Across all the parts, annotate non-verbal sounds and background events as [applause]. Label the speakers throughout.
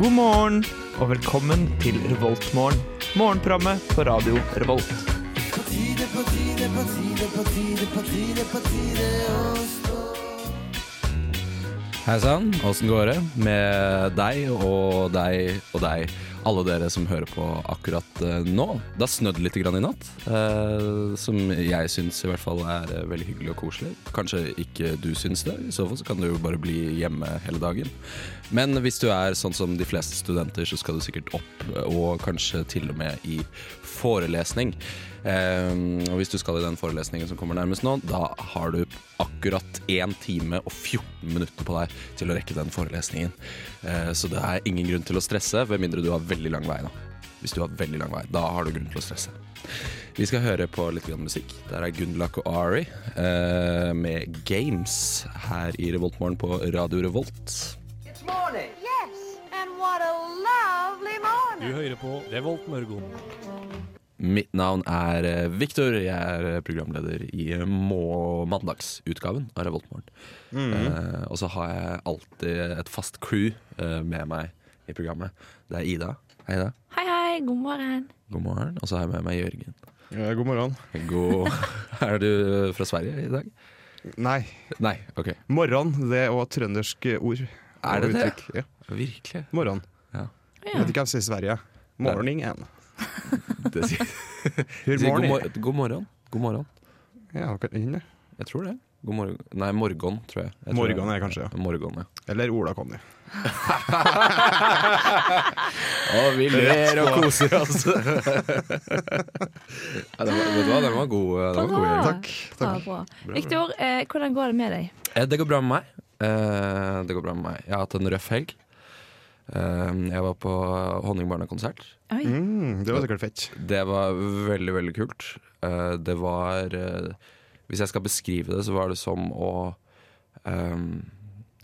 Speaker 1: God morgen og velkommen til Revoltmorgen. Morgenprogrammet på radio Revolt.
Speaker 2: Hei sann, åssen går det med deg og deg og deg? Alle dere som hører på akkurat eh, nå. Det har snødd litt grann i natt, eh, som jeg syns i hvert fall er eh, veldig hyggelig og koselig. Kanskje ikke du syns det, i så fall så kan du jo bare bli hjemme hele dagen. Men hvis du er sånn som de fleste studenter, så skal du sikkert opp, eh, og kanskje til og med i forelesning. Eh, og hvis du skal i den forelesningen som kommer nærmest nå, da har du akkurat 1 time og 14 minutter på deg til å rekke den forelesningen. Eh, så det er ingen grunn til å stresse, ved mindre du har veldig lang vei. da. Hvis du har veldig lang vei, da har du grunn til å stresse. Vi skal høre på litt grann musikk. Der er Gundlach og Ari eh, med Games her i Revoltmorgen på Radio Revolt.
Speaker 3: Yes, and what a lovely morning.
Speaker 4: Du hører på Revolt Mørgon.
Speaker 2: Mitt navn er eh, Victor. Jeg er eh, programleder i eh, må mandagsutgaven av Revoltmorgen.
Speaker 5: Mm.
Speaker 2: Eh, og så har jeg alltid et fast crew eh, med meg i programmet. Det er Ida. Hei, Ida.
Speaker 6: Hei, hei, god morgen.
Speaker 2: God morgen. Og så har jeg med meg Jørgen.
Speaker 5: Ja, God morgen.
Speaker 2: God [laughs] Er du eh, fra Sverige i dag?
Speaker 5: Nei,
Speaker 2: Nei, OK.
Speaker 5: morgen det var trøndersk ord.
Speaker 2: Er det
Speaker 5: og
Speaker 2: det?
Speaker 5: uttrykk. Ja.
Speaker 2: Virkelig?
Speaker 5: Morgen. Jeg
Speaker 6: Ja.
Speaker 5: vet ikke hva de sier i Sverige. Morning igjen.
Speaker 2: Det sier,
Speaker 5: [laughs]
Speaker 2: sier
Speaker 5: Hur
Speaker 2: god,
Speaker 5: morning?
Speaker 2: mor god morgen. God morgen.
Speaker 5: Ja, ok, inn det.
Speaker 2: Jeg tror det. God morgen. Nei, morgen, tror jeg. jeg tror
Speaker 5: Morgen er det kanskje. ja.
Speaker 2: Morgen, ja.
Speaker 5: Eller Ola Conny.
Speaker 2: Og vi ler og koser oss. [laughs] ja, den var, vet du hva, den var god. Den var god Jørgen.
Speaker 6: Takk. Bra, bra. Victor, eh, hvordan går det med deg?
Speaker 2: Eh, Det går bra med meg. Eh, Det går bra med meg. Jeg har hatt en røff helg. Eh, Jeg var på Honningbarna-konsert.
Speaker 6: Ah, Oi.
Speaker 5: Mm, det var sikkert fett.
Speaker 2: Det var veldig, veldig kult. Eh, Det var eh, Hvis jeg skal beskrive det, så var det som å eh,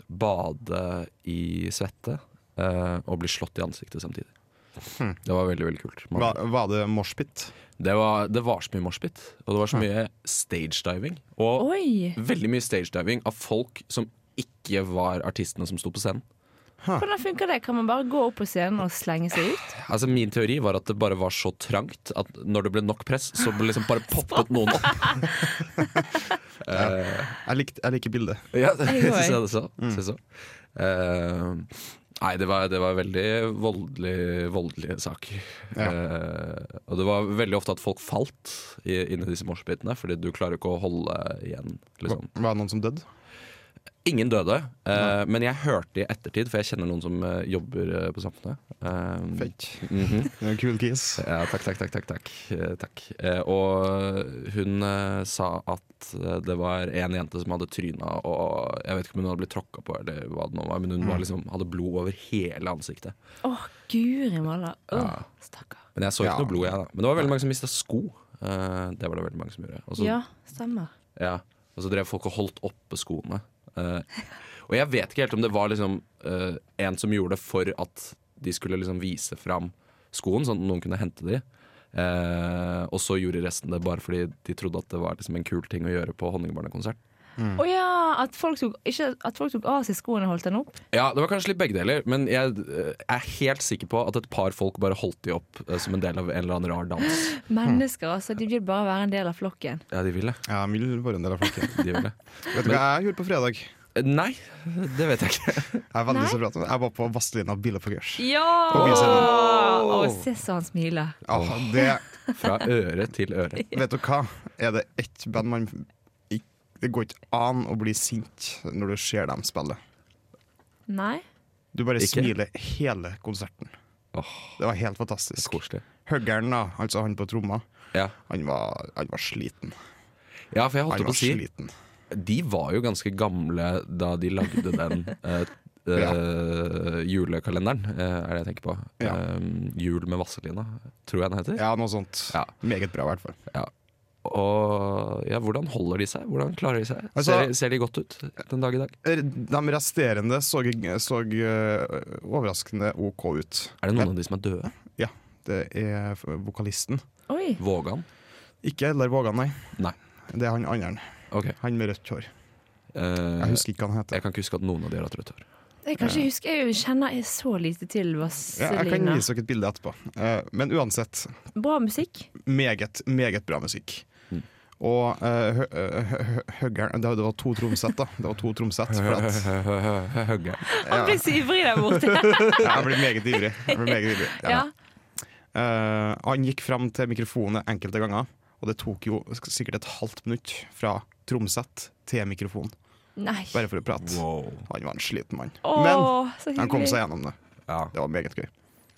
Speaker 2: bade i svette eh, og bli slått i ansiktet samtidig. Det var veldig, veldig kult. Man-
Speaker 5: Hva, var det moshpit?
Speaker 2: Det var, det var så mye moshpit, og det var så mye stagediving. Og
Speaker 6: Oi.
Speaker 2: veldig mye stagediving av folk som ikke var artistene som sto på scenen.
Speaker 6: Hvordan funker det? Kan man bare gå opp på scenen og slenge seg ut?
Speaker 2: Altså Min teori var at det bare var så trangt at når det ble nok press, så ble liksom bare poppet noen opp.
Speaker 5: Jeg, likte, jeg liker bildet.
Speaker 2: [laughs] Ja, det Mm.
Speaker 6: Jeg går.
Speaker 2: synes jeg det så. Synes jeg så. Eh, nei, det var, det var veldig voldelig, voldelige saker. Eh, og det var veldig ofte at folk falt i, inni disse moshpitene, fordi du klarer ikke å holde igjen.
Speaker 5: Var
Speaker 2: Liksom.
Speaker 5: var det noen som døde?
Speaker 2: Ingen døde, eh, men jeg hørte i ettertid, for jeg kjenner noen som eh, jobber eh, på Samfunnet. Eh,
Speaker 5: Fett.
Speaker 2: mhm.
Speaker 5: Det er en Cool kiss.
Speaker 2: Ja, takk, takk, takk. takk, takk. Eh, takk. Eh, og hun eh, sa at eh, det var en jente som hadde tryna, og jeg vet ikke om hun hadde blitt tråkka på, eller hva det nå var, men hun var liksom, hadde blod over hele ansiktet.
Speaker 6: Å, guri malla. Å, stakkar.
Speaker 2: Men jeg så ikke
Speaker 5: Ja.
Speaker 2: noe blod, jeg, da. Men det var veldig mange som mista sko. Eh, det var det veldig mange som gjorde. Og så
Speaker 6: Ja, stemmer.
Speaker 2: Ja, og så drev folk og holdt oppe skoene. Eh, og jeg vet ikke helt om det var liksom eh, en som gjorde det for at de skulle liksom vise fram skoen, sånn at noen kunne hente de. Eh, og så gjorde resten det bare fordi de trodde at det var liksom en kul ting å gjøre på Honningbarna-konsert.
Speaker 6: Å ja, at folk, tok, ikke, at folk tok av seg skoene og holdt den opp?
Speaker 2: Ja, det var kanskje litt begge deler, men jeg eh, er helt sikker på at et par folk bare holdt de opp eh, som en del av en eller annen rar dans.
Speaker 6: Mennesker, altså. De vil bare være en del av flokken.
Speaker 2: Ja, de ville.
Speaker 5: Ja, Jeg vil være en del av folket.
Speaker 2: De ville.
Speaker 5: Vet du hva jeg gjorde på fredag?
Speaker 2: Eh, Nei, det vet jeg ikke.
Speaker 5: Jeg er veldig
Speaker 6: Nei.
Speaker 5: så bra til det. Jeg var på Vazelina Billefoggers.
Speaker 6: Ja!
Speaker 5: Kom igjen,
Speaker 6: Å, se så han smiler.
Speaker 5: Ah, det,
Speaker 2: Fra øre til øre.
Speaker 5: vet du hva? Er det ett band man ikk- Det går ikke an å bli sint når du ser dem spille.
Speaker 6: Nei?
Speaker 5: Du bare
Speaker 2: Ikke?
Speaker 5: smiler hele konserten. Det var helt fantastisk.
Speaker 2: Koselig.
Speaker 5: Huggeren, da, altså han på tromma,
Speaker 2: Ja.
Speaker 5: han var, han var sliten.
Speaker 2: ja, for jeg holdt
Speaker 5: Han
Speaker 2: på
Speaker 5: var
Speaker 2: å si
Speaker 5: sliten.
Speaker 2: De var jo ganske gamle da de lagde
Speaker 5: [laughs]
Speaker 2: den eh, eh, julekalenderen, eh, er det jeg tenker på.
Speaker 5: Ja.
Speaker 2: Eh, jul med Vazelina, tror jeg den heter.
Speaker 5: Ja, noe sånt.
Speaker 2: Ja.
Speaker 5: Meget bra, i hvert fall.
Speaker 2: Ja. Og ja, hvordan holder de seg? Hvordan klarer de seg?
Speaker 5: Altså-
Speaker 2: ser, ser de godt ut den dag i dag?
Speaker 5: Er- De resterende så, så øh, overraskende OK ut.
Speaker 2: Er det noen av de som er døde?
Speaker 5: Ja, det er f- vokalisten.
Speaker 6: Oi.
Speaker 2: Vågan?
Speaker 5: Ikke Eldar Vågan, nei.
Speaker 2: Nei.
Speaker 5: Det er han andre.
Speaker 2: Ok.
Speaker 5: Han med rødt hår.
Speaker 2: Eh,
Speaker 5: Jeg husker ikke hva han heter.
Speaker 2: jeg kan ikke huske at noen av de har hatt rødt hår.
Speaker 6: Jeg kan ikke huske, jeg kjenner jeg så lite til
Speaker 5: Ja, jeg kan
Speaker 6: Vazelina.
Speaker 5: vise dere et bilde etterpå. Eh, men uansett,
Speaker 6: Bra musikk.
Speaker 5: meget, meget bra musikk.
Speaker 2: Mm.
Speaker 5: Og eh, hø- hø- hø- høggeren det, det var to tromsett, da. Det var to tromsett. For
Speaker 2: [laughs]
Speaker 5: at,
Speaker 6: Han ble så ivrig der borte.
Speaker 5: ja, jeg blir meget ivrig. Jeg blir meget ivrig. Ja.
Speaker 6: [laughs] ja.
Speaker 5: Eh, han gikk fram til mikrofonen enkelte ganger, og det tok jo sk- sikkert et halvt minutt fra tromsett til mikrofon,
Speaker 6: Nei.
Speaker 5: bare for å prate.
Speaker 2: Wow.
Speaker 5: Han var en sliten mann.
Speaker 6: Åh,
Speaker 5: Men
Speaker 6: så
Speaker 5: han kom
Speaker 6: hyggelig.
Speaker 5: seg gjennom det.
Speaker 2: Ja,
Speaker 5: Det var meget gøy.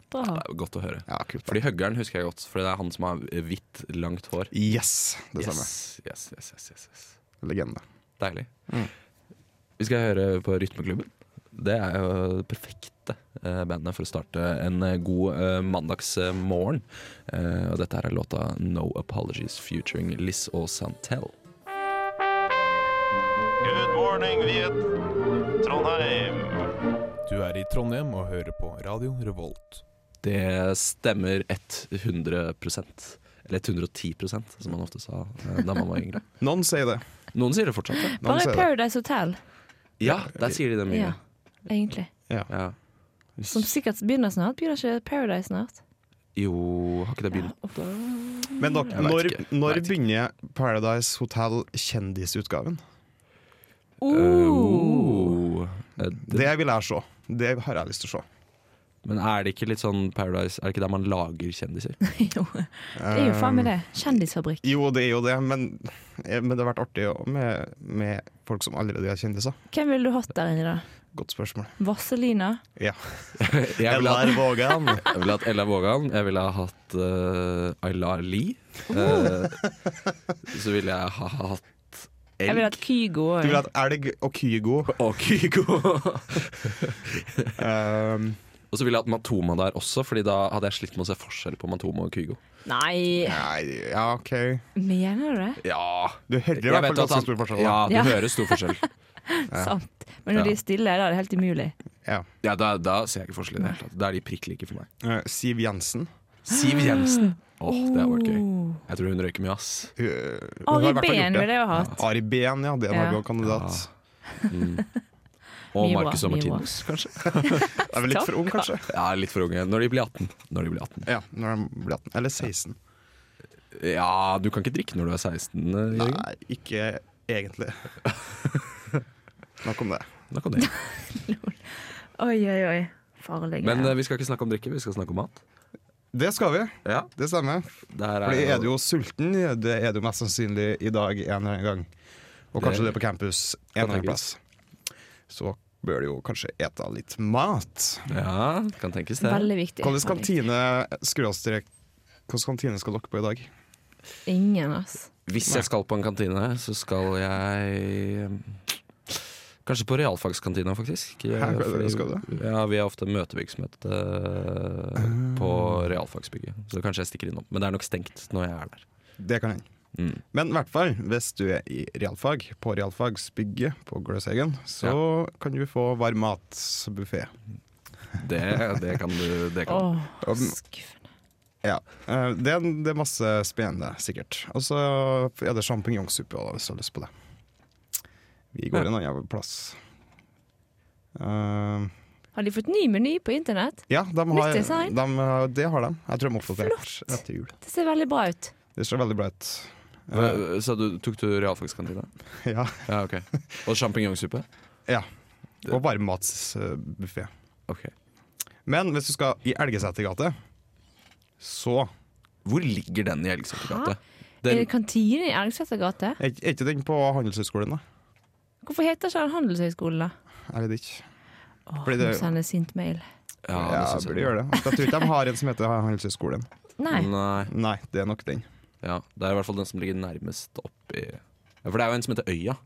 Speaker 6: Bra.
Speaker 2: det er godt å høre.
Speaker 5: Ja, kult.
Speaker 2: Fordi Høggeren husker jeg godt, Fordi det er han som har hvitt, langt hår.
Speaker 5: Yes, det stemmer.
Speaker 2: Yes, yes, yes, yes, yes, yes.
Speaker 5: Legende.
Speaker 2: Deilig. Vi skal høre på Rytmeklubben. Det er jo det perfekte eh, bandet for å starte en eh, god eh, mandagsmorgen. Eh, Og dette her er låta 'No Apologies' featuring Liz og Santel.
Speaker 4: Good morning, Viet. Trondheim.
Speaker 7: Du er i Trondheim og hører på Radio Revolt.
Speaker 2: Det stemmer 100 Eller 110 som man ofte sa eh, da man var yngre.
Speaker 5: Noen sier det.
Speaker 2: Noen sier det fortsatt. ja.
Speaker 5: Noen
Speaker 6: Bare
Speaker 5: sier det.
Speaker 6: Paradise Hotel,
Speaker 2: Ja, der sier de det mye.
Speaker 6: Ja. egentlig.
Speaker 2: Ja.
Speaker 6: Som sikkert begynner snart. Begynner ikke Paradise snart? Uh.
Speaker 2: Jo, har ikke det begynt?
Speaker 5: Men dok,
Speaker 2: Jeg vet
Speaker 5: når,
Speaker 2: ikke.
Speaker 5: når
Speaker 2: Vet ikke.
Speaker 5: begynner Paradise Hotel kjendisutgaven?
Speaker 2: Eh,
Speaker 6: Oh.
Speaker 2: Uh. det,
Speaker 5: Det vil jeg se. Det har jeg lyst til å se.
Speaker 2: men er det ikke litt sånn Paradise Er det ikke der man lager kjendiser?
Speaker 6: [laughs] jo. Det er jo faen meg det. Kjendisfabrikk.
Speaker 5: Jo, det er jo det, men, eh, men det har vært artig å- med, med folk som allerede er kjendiser.
Speaker 6: Hvem ville du hatt der inne, da?
Speaker 5: Godt spørsmål.
Speaker 6: Vazelina?
Speaker 5: Ja.
Speaker 2: Jeg ville hatt,
Speaker 5: Vågan.
Speaker 2: [laughs] jeg ville hatt Ella Vågan. Jeg ville ha hatt eh, Ayla Lee. Eh, så ville jeg ha hatt
Speaker 6: Jeg ville
Speaker 2: Elg
Speaker 6: hatt Kygo.
Speaker 5: Du vil ha et elg og Kygo.
Speaker 2: og Kygo. og
Speaker 5: Um,
Speaker 2: så ville jeg hatt Matoma der også, Fordi da hadde jeg slitt med å se forskjell på Matoma og Kygo.
Speaker 6: Nei,
Speaker 5: nei, ja, OK.
Speaker 6: mener du det?
Speaker 2: Ja,
Speaker 5: Du hører i
Speaker 2: jeg
Speaker 5: hvert fall
Speaker 2: vet at
Speaker 5: ganske
Speaker 2: han
Speaker 5: stor forskjell.
Speaker 2: Ja,
Speaker 5: da.
Speaker 2: du
Speaker 6: Ja.
Speaker 2: hører stor forskjell.
Speaker 6: Sant. Men når
Speaker 2: Ja.
Speaker 6: de er stille, da er det helt umulig.
Speaker 5: Ja.
Speaker 2: Ja, da, da ser jeg ikke forskjell i det hele tatt. Da er de prikk like for meg.
Speaker 5: Eh, Siv Jensen.
Speaker 6: Ah.
Speaker 2: Siv Jensen. Åh, det hadde vært gøy.
Speaker 6: Oh.
Speaker 2: Jeg tror hun røyker mye, ass.
Speaker 5: Hun- hun har i
Speaker 6: Ari
Speaker 5: hvert fall gjort
Speaker 6: Behn
Speaker 5: det.
Speaker 6: ville jeg jo hatt.
Speaker 5: Ari Behn, ja. Det er en
Speaker 6: Ja.
Speaker 5: ja. kandidat.
Speaker 2: Og
Speaker 6: Mye bra,
Speaker 2: Marcus og
Speaker 6: mye bra.
Speaker 2: Martinus, kanskje.
Speaker 5: Jeg er vel litt for ung, kanskje.
Speaker 2: Ja, litt for unge. Når de blir 18. Når de blir 18.
Speaker 5: Ja, når de blir 18. Eller 16.
Speaker 2: Ja, du kan ikke drikke når du er 16, eh, Jørgen.
Speaker 5: Nei, ikke egentlig. [laughs] Nok om det.
Speaker 2: Da kan du.
Speaker 5: [laughs]
Speaker 6: Oi, oi, oi. Farlig.
Speaker 2: Men eh,
Speaker 6: greier.
Speaker 2: vi skal ikke snakke om drikke, vi skal snakke om mat.
Speaker 5: Det skal vi.
Speaker 2: Ja,
Speaker 5: Det stemmer.
Speaker 2: der
Speaker 5: Fordi er du jo sulten, det er du mest sannsynlig i dag en eller annen gang. Og kanskje det er på campus en eller annen plass. Så bør du jo kanskje ete litt mat.
Speaker 2: Ja, kan tenkes det.
Speaker 6: Veldig viktig.
Speaker 5: Hvordan kantine skråstrek Hvordan kantine skal dere på i dag?
Speaker 6: Ingen, ass.
Speaker 2: Hvis jeg skal på en kantine, så skal jeg eh, Kanskje på realfagskantina, faktisk. Eh,
Speaker 5: Hæ, hva- skal
Speaker 2: ja, Vi har ofte møtevirksomhet eh, på
Speaker 5: Ah.
Speaker 2: realfagsbygget, så kanskje jeg stikker innom. Men det er nok stengt når jeg er der.
Speaker 5: Det kan hende.
Speaker 2: Mm.
Speaker 5: Men i hvert fall, hvis du er i realfag, på realfagsbygget på Gløshaugen, så kan du få varm matbuffé.
Speaker 2: Det, det kan du. Det kan.
Speaker 6: Åh,
Speaker 5: Og-
Speaker 6: skuffende.
Speaker 5: Ja. eh, Det er, det er masse spennende, sikkert. Og så er det sjampinjongsuppe også, hvis du har lyst på det. Vi går en annen plass. Eh,
Speaker 6: Har de fått ny meny på internett?
Speaker 5: ja, de har,
Speaker 6: Nytt design.
Speaker 5: de, har- det har de. Jeg tror de er oppdatert
Speaker 6: Flott.
Speaker 5: etter jul.
Speaker 6: Det ser veldig bra ut.
Speaker 5: Det ser veldig bra ut. Eh,
Speaker 2: Hva- Så du, tok du realfagskantina?
Speaker 5: Ja.
Speaker 2: Ja, ok. Og sjampinjongsuppe?
Speaker 5: ja. Og varmmatsbuffé.
Speaker 2: Ok.
Speaker 5: Men hvis du skal i Elgesetergate, så
Speaker 2: Hvor ligger den i Elgeseter gate?
Speaker 6: Er
Speaker 2: Den,
Speaker 6: det kantine i Ergseter gate?
Speaker 5: Er er ikke den på Handelshøyskolen, da?
Speaker 6: Hvorfor heter ikke den Handelshøyskolen, da?
Speaker 5: Jeg vet ikke.
Speaker 6: Åh,
Speaker 5: Fordi det-
Speaker 6: nå sender jeg sint mail.
Speaker 2: ja,
Speaker 5: Ja,
Speaker 2: det synes
Speaker 5: burde gjøre det. Altså, Jeg tror ikke de har en som heter Handelshøyskolen.
Speaker 6: Nei.
Speaker 2: Nei.
Speaker 5: Nei, det er nok den.
Speaker 2: Ja, det er i hvert fall den som ligger nærmest oppi ja, For det er jo en som heter Øya.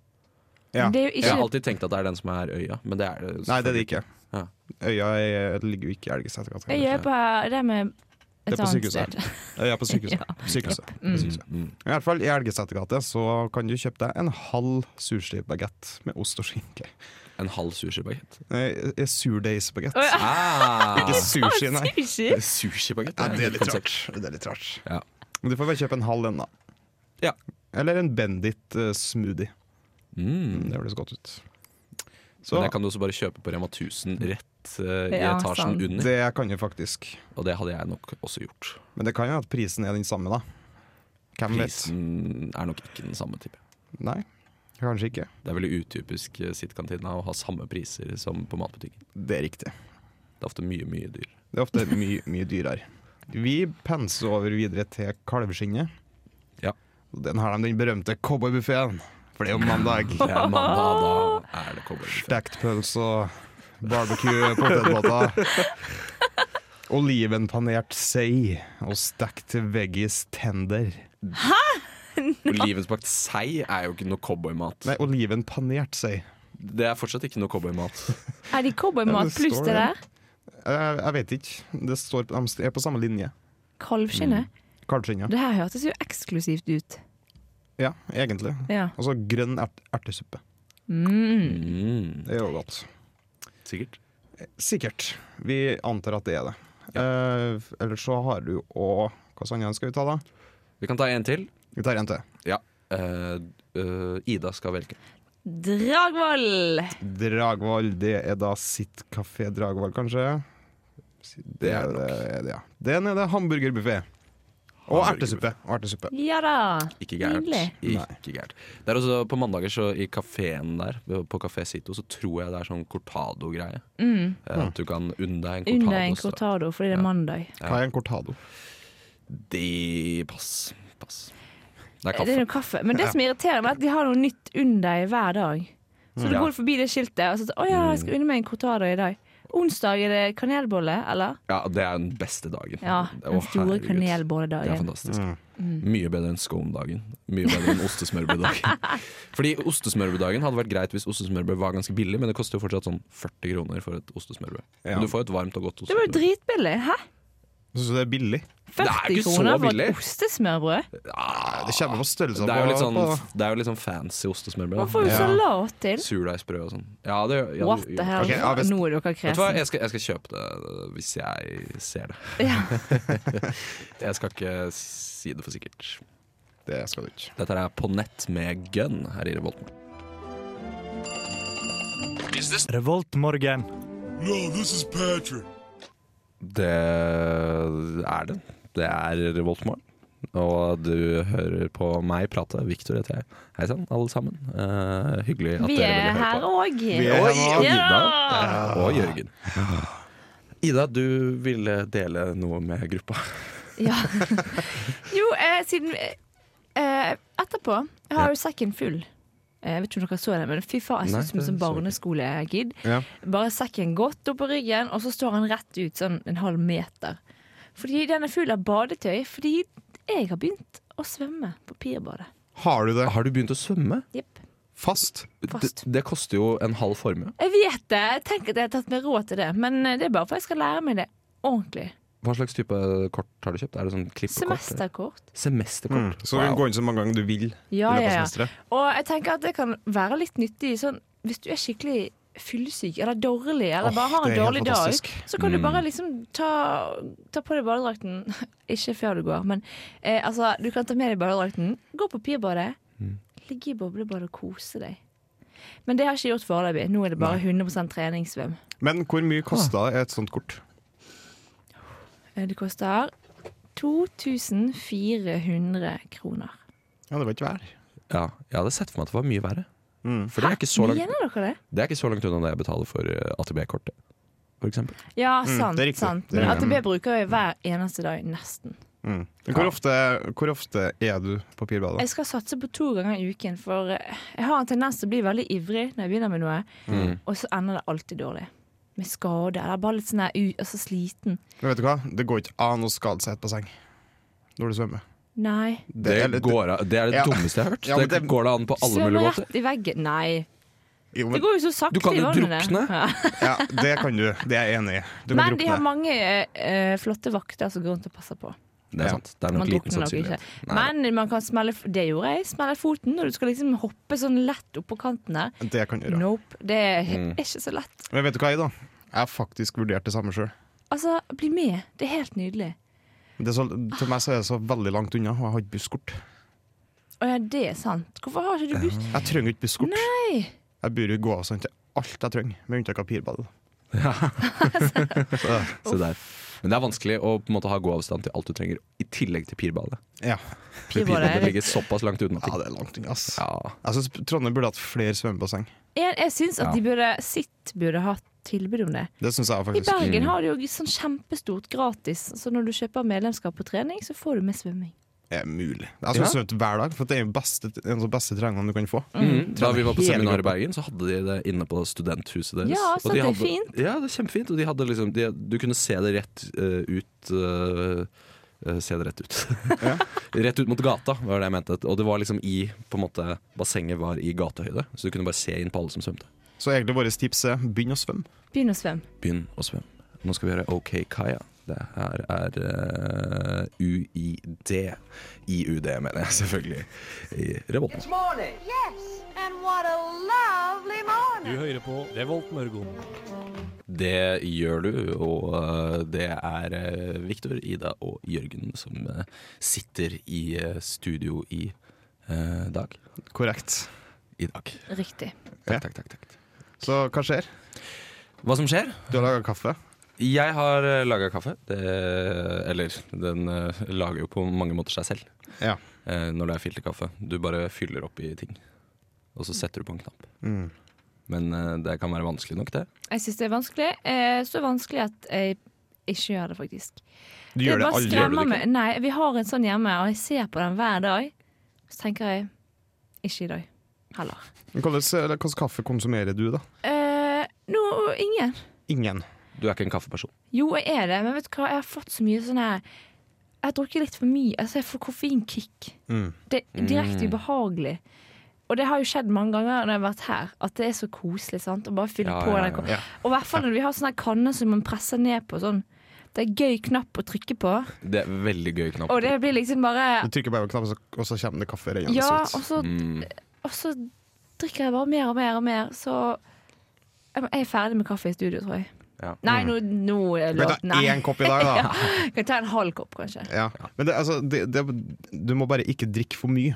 Speaker 5: Ja.
Speaker 6: Det er jo
Speaker 2: Jeg har
Speaker 6: ikke
Speaker 2: alltid tenkt at det er den som er Øya, men det er det
Speaker 5: Nei, det er det ikke.
Speaker 2: Ja.
Speaker 5: Øya er, ligger jo ikke i Elgeseter gate.
Speaker 6: Jeg er på det med
Speaker 5: Det er
Speaker 6: et
Speaker 5: på
Speaker 6: annet
Speaker 5: sykehuset.
Speaker 6: sted.
Speaker 5: Øya er på sykehuset. sykehuset. På sykehuset.
Speaker 2: Mm.
Speaker 5: I hvert fall i Elgeseter gate så kan du kjøpe deg en halv surstrømbagett med ost og skinke.
Speaker 2: En halv sushibagett.
Speaker 5: Nei, eh, Surdeigsbagett.
Speaker 6: Å, ja.
Speaker 2: Ah,
Speaker 5: Ikke sushi, [laughs] nei.
Speaker 6: Sushi!
Speaker 2: sushibagett
Speaker 5: Ja, det er litt
Speaker 2: konsept.
Speaker 5: rart. Det er litt rart.
Speaker 2: Ja.
Speaker 5: Men Du får bare kjøpe en halv en, da.
Speaker 2: Ja.
Speaker 5: Eller en Bendit eh, smoothie.
Speaker 2: Mm.
Speaker 5: Det høres godt ut. Så
Speaker 2: Men jeg kan jo også bare kjøpe på Rema 1000 rett eh, i
Speaker 6: Ja,
Speaker 2: etasjen
Speaker 6: sant.
Speaker 2: under.
Speaker 5: det kan du faktisk.
Speaker 2: Og det hadde jeg nok også gjort.
Speaker 5: Men det kan jo at prisen er den samme, da. Hvem vet?
Speaker 2: Prisen er nok ikke den samme type.
Speaker 5: Nei, kanskje ikke.
Speaker 2: Det er veldig utypisk eh, sittkantina å ha samme priser som på matbutikken.
Speaker 5: Det er riktig.
Speaker 2: Det er ofte mye, mye dyrere.
Speaker 5: Det er ofte mye, mye dyrere. Vi penser over videre til kalveskinnet.
Speaker 2: Ja.
Speaker 5: Og Den har de den berømte cowboybuffeen, for det er jo mandag.
Speaker 2: Det er mandag, da er det cowboybuffé.
Speaker 5: Stekt pølse og barbecue potetbåter. Olivenpanert sei og stekt veggies tender.
Speaker 2: Olivenspakt sei er jo ikke noe cowboymat.
Speaker 5: Nei, olivenpanert sei. Jeg,
Speaker 2: Det er fortsatt ikke noe cowboymat.
Speaker 6: Er det
Speaker 5: Ja,
Speaker 6: cowboymat
Speaker 5: det
Speaker 6: pluss
Speaker 5: står
Speaker 6: det der?
Speaker 5: jeg vet ikke. Det står, de er på samme linje.
Speaker 6: Kalvskinnet?
Speaker 5: Mm. Kalvskinnet.
Speaker 6: Det her hørtes jo eksklusivt ut.
Speaker 5: Ja, egentlig.
Speaker 6: Ja.
Speaker 5: Og så grønn ert ertesuppe.
Speaker 6: Mm.
Speaker 2: Mm,
Speaker 5: Det er jo godt.
Speaker 2: sikkert.
Speaker 5: Sikkert. Vi antar at det er det. Eh, Ellers så har du òg Hva sånn skal vi ta, da?
Speaker 2: Vi kan ta en til.
Speaker 5: Vi tar en til.
Speaker 2: Ja. Eh, eh, Ida skal velge.
Speaker 6: Dragvoll!
Speaker 5: Dragvoll. Det er da sitt kafé Dragvoll, kanskje? Det er det, det ja. Den er det hamburgerbuffé. Og ertesuppe. Og ertesuppe.
Speaker 6: Ja da.
Speaker 2: Ikke gærent.
Speaker 6: Nydelig.
Speaker 2: Ikke gærent. Det er også på mandager så i kafeen der, på Kafé Sito, så tror jeg det er sånn cortado-greie. Eh, At du kan unne deg en
Speaker 6: Under Mm. en
Speaker 2: cortado. så-
Speaker 6: cortado fordi det er mandag.
Speaker 5: Hva er en cortado?
Speaker 2: Det pass. Pass. Det er
Speaker 6: Det er
Speaker 2: kaffe.
Speaker 6: noe kaffe. Men det som irriterer meg, er at de har noe nytt under deg hver dag. Så
Speaker 5: Mm.
Speaker 6: du
Speaker 2: Ja.
Speaker 6: går forbi det skiltet og så sier 'Å ja, jeg skal unne meg en cortado i dag'. Onsdag er det kanelbolle, eller?
Speaker 2: Ja, det er den beste dagen.
Speaker 6: Ja, den
Speaker 2: Å,
Speaker 6: store
Speaker 2: herregud. Det er
Speaker 6: kanelbolledagen.
Speaker 2: fantastisk.
Speaker 6: Mm.
Speaker 2: Mye bedre enn scone-dagen. Mye bedre enn
Speaker 6: [laughs]
Speaker 2: ostesmørbrøddagen. Fordi ostesmørbrøddagen hadde vært greit hvis ostesmørbrød var ganske billig, men det koster jo fortsatt sånn 40 kroner for et ostesmørbrød.
Speaker 5: Ja.
Speaker 2: Men du får jo et varmt og godt
Speaker 6: Det var jo
Speaker 2: ostesmørbrød.
Speaker 6: dritbillig. Hæ?
Speaker 5: Syns du det er billig?
Speaker 6: 40
Speaker 2: ikke så
Speaker 6: kroner for
Speaker 2: billig.
Speaker 6: et ostesmørbrød?
Speaker 5: Det kommer på størrelsen
Speaker 2: Det er jo litt sånn,
Speaker 5: på,
Speaker 2: det er jo litt sånn fancy ostesmørbrød.
Speaker 6: Man får jo
Speaker 2: da.
Speaker 5: Ja.
Speaker 6: salat til.
Speaker 2: Surdeigsbrød og sånn. Ja, det gjør ja,
Speaker 6: What
Speaker 2: det
Speaker 6: the
Speaker 2: gjør-
Speaker 6: hell?
Speaker 5: Ok, ja, hvis-
Speaker 6: Nå er dere
Speaker 2: Vet du hva,
Speaker 6: kresne.
Speaker 2: jeg skal, jeg skal kjøpe det øh, hvis jeg ser det.
Speaker 6: Ja.
Speaker 2: Jeg skal ikke si det for sikkert.
Speaker 5: på Det skal du ikke.
Speaker 2: Dette er På nett med gun her i Revolten.
Speaker 1: Revoltmorgen.
Speaker 2: Det er det. Det er Revoltmorgen. Og du hører på meg prate. Victor heter jeg. Hei sann, alle sammen. Eh, hyggelig at
Speaker 6: Vi
Speaker 2: dere
Speaker 6: er
Speaker 2: vil høre
Speaker 6: her
Speaker 2: på.
Speaker 6: òg.
Speaker 5: er
Speaker 2: Og,
Speaker 5: her
Speaker 2: og
Speaker 6: nå.
Speaker 2: Ida og Jørgen. Ida, du ville dele noe med gruppa.
Speaker 6: Ja. Jo, eh, siden eh, Etterpå Jeg har jo sekken full. Eh, Jeg vet ikke om dere så det, men fy faen, jeg
Speaker 2: Nei,
Speaker 6: synes
Speaker 2: det
Speaker 6: ut som en
Speaker 2: så
Speaker 6: sånn
Speaker 2: jeg
Speaker 6: barneskolegid.
Speaker 5: Ja.
Speaker 6: Bare sekken godt opp på ryggen, og så står han rett ut sånn en halv meter. Fordi den er full av badetøy, fordi jeg har begynt å svømme på pirbadet.
Speaker 5: Har du det
Speaker 2: Har du begynt å svømme?
Speaker 6: Jepp.
Speaker 5: fast?
Speaker 6: Fast.
Speaker 2: Det, det koster jo en halv formue.
Speaker 6: Jeg vet det, jeg tenker at jeg har tatt meg råd til det, men eh, det er bare for jeg skal lære meg det ordentlig.
Speaker 2: Hva slags type kort har du kjøpt? Er det sånn klippekort? eller?
Speaker 6: Semesterkort.
Speaker 2: Semesterkort.
Speaker 5: Mm. Så du kan gå inn så mange ganger du vil.
Speaker 6: Ja,
Speaker 2: sånn
Speaker 5: i løpet av
Speaker 6: ja, ja.
Speaker 5: semesteret.
Speaker 6: Og jeg tenker at det kan være litt nyttig sånn, hvis du er skikkelig fyllesyk eller dårlig, eller
Speaker 5: Åh,
Speaker 6: bare har
Speaker 5: det
Speaker 6: en
Speaker 5: er helt
Speaker 6: dårlig dag,
Speaker 5: fantastisk. Mm.
Speaker 6: så kan du bare liksom ta, ta på deg badedrakten. [laughs] Ikke før du går, men eh, altså, du kan ta med deg badedrakten, gå på pirbadet,
Speaker 5: Mm.
Speaker 6: ligge i boblebadet og kose deg. Men det har jeg ikke gjort foreløpig. Nå er det bare 100 treningssvøm.
Speaker 5: Men hvor mye kosta et sånt kort?
Speaker 6: Eh, Det koster 2400 kroner.
Speaker 5: Ja, det var ikke hver.
Speaker 2: Ja, jeg hadde sett for meg at det var mye verre.
Speaker 5: Mm.
Speaker 2: For det er, ikke så langt,
Speaker 6: Mener dere det?
Speaker 2: det er ikke så langt unna det jeg betaler for eh, ATB-kortet, for eksempel.
Speaker 6: Ja,
Speaker 5: Mm,
Speaker 6: sant.
Speaker 5: det er riktig.
Speaker 6: sant.
Speaker 5: Det er
Speaker 6: Men
Speaker 5: riktig.
Speaker 6: AtB bruker jeg hver eneste dag, nesten.
Speaker 5: Mm. Men Hvor,
Speaker 2: Ja.
Speaker 5: ofte, hvor ofte er du på pirbadet?
Speaker 6: Jeg skal satse på to ganger i uken, for eh, jeg har en tendens til å bli veldig ivrig når jeg begynner med noe,
Speaker 2: Mm.
Speaker 6: og så ender det alltid dårlig. Med skade, eller bare litt sånn der u- altså sliten.
Speaker 5: Men vet du hva? Det går ikke an å skade seg i et basseng når du svømmer.
Speaker 6: Nei.
Speaker 2: Det,
Speaker 5: eller-
Speaker 2: går, av- det er det
Speaker 5: Ja.
Speaker 2: dummeste jeg har hørt.
Speaker 5: Ja, men
Speaker 2: det,
Speaker 5: det-
Speaker 2: går da an på alle
Speaker 6: Svømmer
Speaker 2: mulige måter.
Speaker 6: rett i veggen. Nei.
Speaker 5: Jo,
Speaker 6: Det
Speaker 5: men,
Speaker 6: går jo så sakte
Speaker 2: Du kan
Speaker 6: i
Speaker 2: jo
Speaker 6: vannet.
Speaker 2: drukne.
Speaker 6: Ja.
Speaker 5: ja, det kan du. Det er jeg enig i. Du kan
Speaker 6: Men de
Speaker 5: drukne.
Speaker 6: har mange eh, eh, flotte vakter som går rundt og passer på.
Speaker 2: Det
Speaker 5: Ja.
Speaker 2: er sant. Det er nok
Speaker 6: Man
Speaker 2: liten
Speaker 6: drukner nok ikke.
Speaker 2: sannsynlighet. Nei.
Speaker 6: Men man kan smelle f- Det gjorde jeg. Smelle foten når du skal liksom hoppe sånn lett oppå kanten der.
Speaker 5: Det kan du gjøre.
Speaker 6: Nope. Det er
Speaker 2: Mm.
Speaker 6: he- er ikke så lett.
Speaker 5: Men vet du hva, Ida? Jeg har faktisk vurdert det samme sjøl.
Speaker 6: Altså, bli med. Det er helt nydelig.
Speaker 5: Til meg så er det så veldig langt unna, og jeg har ikke busskort.
Speaker 6: Å ja, det er sant. Hvorfor har ikke du buss?
Speaker 5: Jeg trenger ikke busskort.
Speaker 6: Nei.
Speaker 5: Jeg burde jo gå av sånn til alt jeg trenger, med unntak av pirball. Så,
Speaker 2: Se der. Men det er vanskelig å på en måte ha god avstand til alt du trenger, i tillegg til pirballet.
Speaker 5: ja.
Speaker 2: For
Speaker 6: Pirballet er
Speaker 2: pirballet
Speaker 6: litt-
Speaker 2: ligger såpass langt unna.
Speaker 5: ja,
Speaker 2: ting.
Speaker 5: det er langt unna, ass.
Speaker 2: Ja.
Speaker 5: Jeg syns Trondheim burde hatt flere svømmebasseng.
Speaker 6: Jeg, jeg syns at
Speaker 2: Ja.
Speaker 6: de burde sitt burde hatt tilbud om det.
Speaker 5: Det syns jeg
Speaker 6: I
Speaker 5: faktisk.
Speaker 6: Bergen har de jo sånn kjempestort gratis, så når du kjøper medlemskap på trening, så får du med svømming.
Speaker 5: er mulig. Jeg skulle
Speaker 2: Ja.
Speaker 5: svømt hver dag, for det er jo beste, en av de beste treningene du kan få.
Speaker 2: Mm. Da vi var på
Speaker 5: Hele
Speaker 2: seminar i
Speaker 5: gruppa.
Speaker 2: Bergen, så hadde de det inne på studenthuset deres.
Speaker 6: Ja, så
Speaker 2: de
Speaker 6: det er
Speaker 2: hadde-
Speaker 6: fint.
Speaker 2: Ja, det er kjempefint. Og de hadde liksom de, Du kunne se det rett eh, ut eh, eh, Se det rett ut.
Speaker 5: Ja.
Speaker 2: [laughs] rett ut mot gata, var det jeg mente. Og det var liksom i på en måte Bassenget var i gatehøyde, så du kunne bare se inn på alle som svømte.
Speaker 5: Så egentlig vårt tips er begynn å svømme.
Speaker 6: Begynn å svømme.
Speaker 2: Begynn å svømme. Nå skal vi høre OK Kaja. Det her er eh, UiD. IUD, mener jeg selvfølgelig. I Revolten.
Speaker 3: Yes, and what a lovely morning.
Speaker 8: hører på Revolt Mørgon.
Speaker 2: Det gjør du, og eh, det er eh, Victor, Ida og Jørgen som eh, sitter i eh, studio i eh, dag.
Speaker 5: Korrekt.
Speaker 2: I dag.
Speaker 6: Riktig.
Speaker 5: Ja.
Speaker 2: Takk, takk, takk, takk.
Speaker 5: Så hva skjer?
Speaker 2: Hva som skjer?
Speaker 5: Du har laga kaffe.
Speaker 2: Jeg har laga kaffe. Det, eller, den eh, lager jo på mange måter seg selv.
Speaker 5: Ja.
Speaker 2: eh, når det er filterkaffe. Du bare fyller opp i ting, og så setter du på en knapp.
Speaker 5: Mm.
Speaker 2: Men eh, det kan være vanskelig nok, det.
Speaker 6: Jeg syns det er vanskelig. Eh, så vanskelig at jeg ikke gjør det, faktisk.
Speaker 5: Du gjør det
Speaker 6: bare
Speaker 5: aldri.
Speaker 2: Gjør
Speaker 6: skremmer
Speaker 2: du det
Speaker 6: meg. Nei, vi har en sånn hjemme, og jeg ser på den hver dag. Så tenker jeg ikke i dag heller.
Speaker 5: Men Hvordan, eller, hvordan kaffe konsumerer du, da?
Speaker 6: Eh, nå ingen.
Speaker 5: Ingen.
Speaker 2: Du er ikke en kaffeperson.
Speaker 6: Jo, jeg er det, men vet du hva? Jeg har fått så mye sånn her Jeg har drukket litt for mye. Altså, jeg får koffeinkick.
Speaker 5: Mm.
Speaker 6: Det er direkte ubehagelig. Og det har jo skjedd mange ganger når jeg har vært her, at det er så koselig sant? å bare fylle
Speaker 2: Ja,
Speaker 6: på
Speaker 2: ja,
Speaker 6: den
Speaker 2: ja.
Speaker 6: koppen.
Speaker 5: Ja.
Speaker 6: Og i hvert fall når vi har sånne her kanner som man presser ned på sånn. Det er gøy knapp å trykke på,
Speaker 2: Det er veldig gøy knapp.
Speaker 6: og det blir liksom bare
Speaker 5: Du trykker bare på knappen, så- og så kommer det kaffe rennende
Speaker 6: Ja,
Speaker 5: ut.
Speaker 6: og så,
Speaker 2: Mm.
Speaker 6: og så drikker jeg bare mer og mer og mer, så jeg jeg er ferdig med kaffe i studio, tror jeg.
Speaker 2: Ja.
Speaker 6: Nei, nå, nå er
Speaker 5: Kan vi
Speaker 6: låt.
Speaker 5: ta
Speaker 6: Nei.
Speaker 5: én kopp i dag, da?
Speaker 6: [laughs] Ja. Kan jeg ta en halv kopp, kanskje.
Speaker 5: Ja. Men det, altså, det, det, du må bare ikke drikke for mye.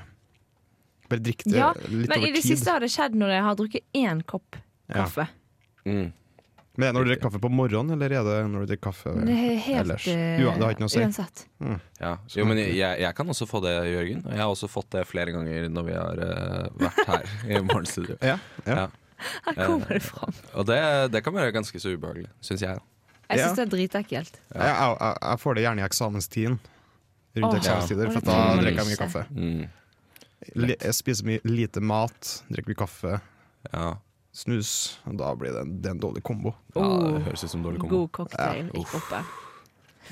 Speaker 5: Bare drikk det
Speaker 6: Ja,
Speaker 5: litt
Speaker 6: Men i
Speaker 5: over
Speaker 6: det
Speaker 5: tid.
Speaker 6: siste har det skjedd når jeg har drukket én kopp
Speaker 5: Ja.
Speaker 6: kaffe.
Speaker 2: Mm.
Speaker 5: Men er det når du drikker kaffe på morgenen, eller er det når du drikker kaffe
Speaker 6: Det er helt
Speaker 5: ellers?
Speaker 6: eh,
Speaker 5: Ua- det har ikke noe å si.
Speaker 6: uansett.
Speaker 2: Ja. Jo, men jeg, jeg kan også få det, Jørgen. Og jeg har også fått det flere ganger når vi har eh, vært her i morgenstudio.
Speaker 5: Ja, ja.
Speaker 2: Ja.
Speaker 6: Her
Speaker 5: Eh,
Speaker 6: kommer det fram.
Speaker 2: Og det, det kan være ganske så ubehagelig, syns jeg.
Speaker 6: Jeg
Speaker 5: Ja.
Speaker 6: syns det er dritekkelt.
Speaker 5: Jeg, jeg, jeg får det gjerne i eksamenstiden. Rundt
Speaker 6: Åh,
Speaker 5: eksamenstider,
Speaker 6: og
Speaker 5: for
Speaker 6: det
Speaker 5: da
Speaker 6: trenger man
Speaker 5: drikker jeg mye
Speaker 6: ikke.
Speaker 5: kaffe.
Speaker 2: Mm.
Speaker 5: Li- Jeg spiser mye lite mat, drikker mye kaffe,
Speaker 2: Ja.
Speaker 5: snus. Og da blir det en, det er en dårlig kombo.
Speaker 2: ja,
Speaker 6: Oh.
Speaker 2: det høres ut som dårlig kombo.
Speaker 6: God cocktail i kroppen.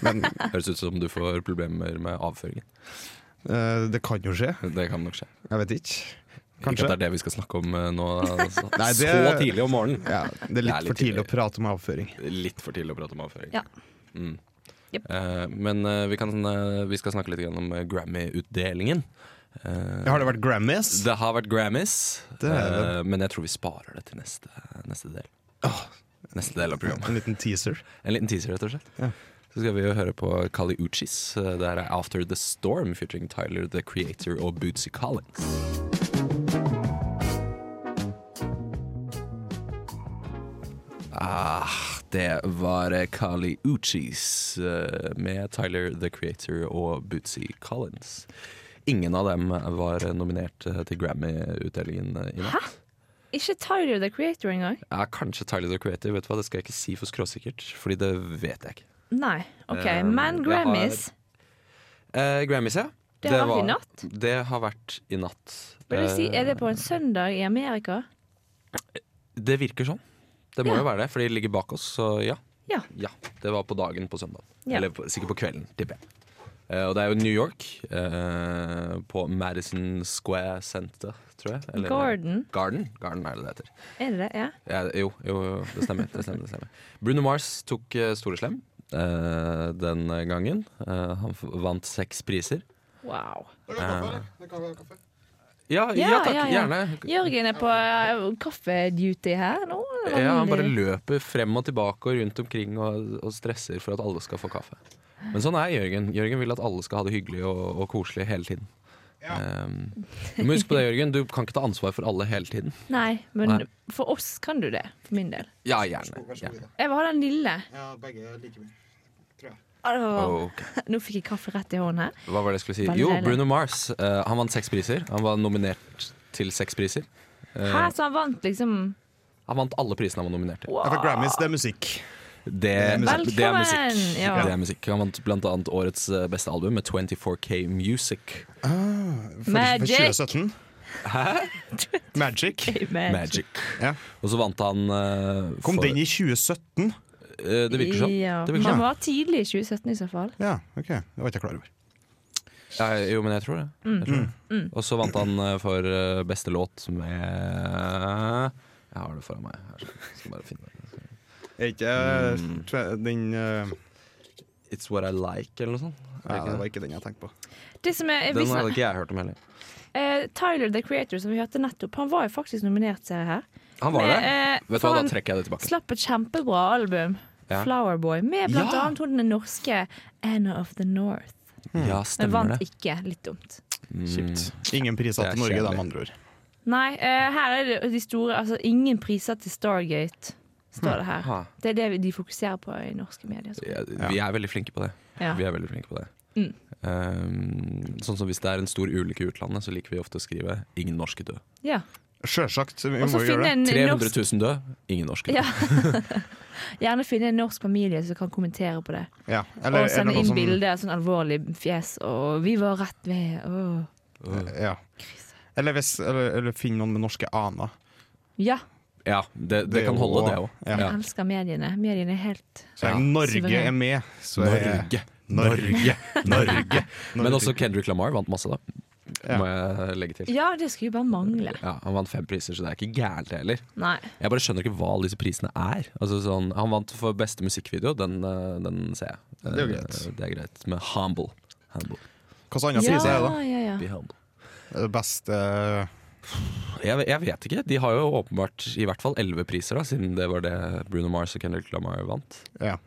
Speaker 5: Men
Speaker 6: [laughs]
Speaker 2: Høres ut som du får problemer med avføringen.
Speaker 5: eh, det kan jo skje.
Speaker 2: Det kan nok skje.
Speaker 5: Jeg vet ikke.
Speaker 2: Ikke at
Speaker 5: Kanskje.
Speaker 2: det er det vi skal snakke om eh,
Speaker 5: [laughs]
Speaker 2: nå, altså.
Speaker 5: Nei, det-
Speaker 2: så tidlig om morgenen.
Speaker 5: Ja, det er
Speaker 2: Det er
Speaker 5: litt for
Speaker 2: litt
Speaker 5: tidlig å
Speaker 2: tidlig.
Speaker 5: prate om avføring.
Speaker 2: Litt for tidlig å prate om avføring.
Speaker 6: Ja.
Speaker 2: Mm.
Speaker 6: Jep.
Speaker 2: Eh, men eh, vi, kan, eh, vi skal snakke litt grann om eh, Grammy-utdelingen. Eh,
Speaker 5: Har det vært Grammys?
Speaker 2: det har vært Grammys,
Speaker 5: Det er
Speaker 2: eh, men jeg tror vi sparer det til neste, neste del. Neste del av programmet.
Speaker 5: En liten teaser.
Speaker 2: En liten teaser, rett og slett.
Speaker 5: Ja.
Speaker 2: Så skal vi jo høre på Kali Uchis. Eh, Det her er After The Storm featuring Tyler The Creator og Bootsy Collins. Ah, det var eh, Kali Uchis eh, med Tyler The Creator og Bootsy Collins. Ingen av dem var eh, nominert eh, til Grammy-utdelingen eh, i natt.
Speaker 6: Ikke Tyler the Creator engang?
Speaker 2: Ja, kanskje Tyler The Creator. Vet du hva, Det skal jeg ikke si for skråsikkert, fordi det vet jeg ikke.
Speaker 6: Nei. OK.
Speaker 2: Eh,
Speaker 6: Men
Speaker 2: jeg
Speaker 6: Grammys,
Speaker 2: Eh, Grammys, ja.
Speaker 6: det har vært i natt?
Speaker 2: Det har vært i natt.
Speaker 6: Vil du si,
Speaker 2: Eh,
Speaker 6: Er det på en søndag i Amerika?
Speaker 2: det virker sånn. Det må
Speaker 6: Ja.
Speaker 2: jo være det, for de ligger bak oss, så ja.
Speaker 6: Ja.
Speaker 2: Det var på dagen på søndag.
Speaker 6: Ja.
Speaker 2: Eller på, sikkert på kvelden, tipper jeg. Eh, og det er jo New York, eh, på Madison Square Center, tror jeg. Eller-
Speaker 6: Garden,
Speaker 2: Garden, Garden er det det heter.
Speaker 6: er det det? Ja.
Speaker 2: Ja, jo, jo, jo, det stemmer. Det stemmer, det stemmer. Bruno Mars tok eh, Store Slem eh, den gangen. Eh, han f- vant seks priser.
Speaker 6: Wow.
Speaker 2: Ja, ja,
Speaker 6: Ja,
Speaker 2: takk,
Speaker 6: ja, ja.
Speaker 2: gjerne.
Speaker 6: Jørgen er på eh, kaffeduty her nå. eller
Speaker 2: Ja, han bare
Speaker 6: vanlig?
Speaker 2: løper frem og tilbake og rundt omkring og, og stresser for at alle skal få kaffe. Men sånn er Jørgen. Jørgen vil at alle skal ha det hyggelig og, og koselig hele tiden. Um, du må huske på det, Jørgen. Du kan ikke ta ansvar for alle hele tiden.
Speaker 6: Nei, men
Speaker 2: Nei.
Speaker 6: for oss kan du det. For min del.
Speaker 2: Ja, gjerne. gjerne.
Speaker 6: Jeg vil ha den lille.
Speaker 5: Ja, begge like mye.
Speaker 6: Å, det var varmt.
Speaker 2: Ok.
Speaker 6: Nå fikk jeg kaffe rett i hånden her.
Speaker 2: Hva var det jeg skulle si?
Speaker 6: Veldig
Speaker 2: Jo,
Speaker 6: deilig.
Speaker 2: Bruno Mars. eh, han vant seks priser. Han var nominert til seks priser. Eh.
Speaker 6: Hæ, så han vant liksom
Speaker 2: Han vant alle prisene han var nominert til.
Speaker 5: Ja, for Grammys, det er musikk.
Speaker 2: Det,
Speaker 5: Velkommen!
Speaker 2: det er musikk.
Speaker 6: Ja.
Speaker 2: Det er musikk. Han vant blant annet årets eh, beste album med 24K Music.
Speaker 5: Ah, For,
Speaker 6: Magic.
Speaker 5: For 2017. Hæ? Magic.
Speaker 2: Magic.
Speaker 5: Ja.
Speaker 2: Og så vant han eh,
Speaker 5: Kom
Speaker 2: for-
Speaker 5: den i 2017?
Speaker 2: Eh, Det virker sånn.
Speaker 6: Ja.
Speaker 2: Det virker
Speaker 6: Han
Speaker 2: sånn.
Speaker 6: var tidlig i 2017 i så fall.
Speaker 5: Ja, ok. Det var ikke jeg klar over.
Speaker 2: Ja, jo, men jeg tror det.
Speaker 6: Mm.
Speaker 2: Jeg tror det. Og så vant han eh, for eh, beste låt med Jeg har det foran meg. Her, så skal jeg bare finne det.
Speaker 5: Er ikke eh,
Speaker 2: Mm.
Speaker 5: tve- den eh,
Speaker 2: It's What I Like, eller noe sånt.
Speaker 5: Ja, det var ikke den jeg tenkte på.
Speaker 6: Det som er,
Speaker 2: Den
Speaker 6: hvis,
Speaker 2: hadde ikke jeg hørt om heller.
Speaker 6: eh, Tyler the Creator, som vi hørte nettopp, han var jo faktisk nominert, ser jeg her.
Speaker 2: Han var
Speaker 6: Med,
Speaker 2: der.
Speaker 6: eh,
Speaker 2: Vet du
Speaker 6: for
Speaker 2: hva,
Speaker 6: han
Speaker 2: da trekker jeg det tilbake.
Speaker 6: Slapp et kjempebra album,
Speaker 2: Ja.
Speaker 6: Flowerboy, med blant
Speaker 2: Ja!
Speaker 6: annet hun den norske Anna of the North.
Speaker 2: Ja,
Speaker 6: Men
Speaker 2: stemmer
Speaker 6: vant
Speaker 2: det.
Speaker 6: ikke. Litt dumt.
Speaker 2: Kjipt.
Speaker 5: Ingen
Speaker 2: Mm.
Speaker 5: priser
Speaker 2: Det er
Speaker 5: til Norge, da,
Speaker 2: kjedelig.
Speaker 5: med andre ord.
Speaker 6: Nei, eh, her er det de store Altså ingen priser til Stargate, står det her.
Speaker 2: Hm. Ha.
Speaker 6: Det er det vi- de fokuserer på i norske medier. tror jeg.
Speaker 2: Ja, vi er veldig flinke på det.
Speaker 6: Ja.
Speaker 2: Vi er veldig flinke på det.
Speaker 6: Mm.
Speaker 2: Um, sånn som Hvis det er en stor ulykke i utlandet, så liker vi ofte å skrive 'ingen norske død'.
Speaker 6: Ja.
Speaker 5: Sjølsagt. Vi
Speaker 6: Og
Speaker 5: må jo
Speaker 6: så finne
Speaker 5: gjøre det.
Speaker 6: en
Speaker 2: 300
Speaker 6: norsk
Speaker 2: 000 død, ingen norske død.
Speaker 6: Ja. Gjerne finne en norsk familie som kan kommentere på det.
Speaker 5: Ja.
Speaker 6: og sende
Speaker 5: noe
Speaker 6: inn
Speaker 5: som-
Speaker 6: bilde av sånn alvorlig fjes og 'vi var rett ved' og
Speaker 5: Ja. Eller, hvis, eller, eller finn noen med norske aner.
Speaker 6: Ja,
Speaker 2: Ja, det, det
Speaker 5: Det
Speaker 2: kan
Speaker 5: er
Speaker 2: holde,
Speaker 5: jo-
Speaker 2: det òg.
Speaker 5: Ja.
Speaker 6: jeg elsker mediene. Mediene er helt
Speaker 5: Så
Speaker 2: Ja.
Speaker 5: lenge Norge
Speaker 6: Suveren.
Speaker 5: er med, så er
Speaker 2: Norge.
Speaker 5: Norge. [laughs] Norge.
Speaker 2: Men også Kendrick Lamar vant masse, da.
Speaker 5: Ja.
Speaker 2: Må jeg legge til.
Speaker 6: Ja, det skulle jo bare mangle.
Speaker 2: Ja, han vant fem priser, så det er ikke gærent heller.
Speaker 6: Nei.
Speaker 2: Jeg bare skjønner ikke hva alle disse prisene er. Altså, sånn, han vant for beste musikkvideo, den, eh, den ser jeg.
Speaker 5: Det er jo greit.
Speaker 2: Eh, Det er greit. Med Humble. Humble.
Speaker 5: Hva slags andre
Speaker 6: Ja,
Speaker 5: priser er det, da?
Speaker 6: ja,
Speaker 2: Be
Speaker 6: ja.
Speaker 2: humble.
Speaker 5: Er det beste eh,
Speaker 2: Jeg, jeg vet ikke. De har jo åpenbart i hvert fall elleve priser, da, siden det var det Bruno Mars og Kendrick Lamar vant.
Speaker 5: Ja.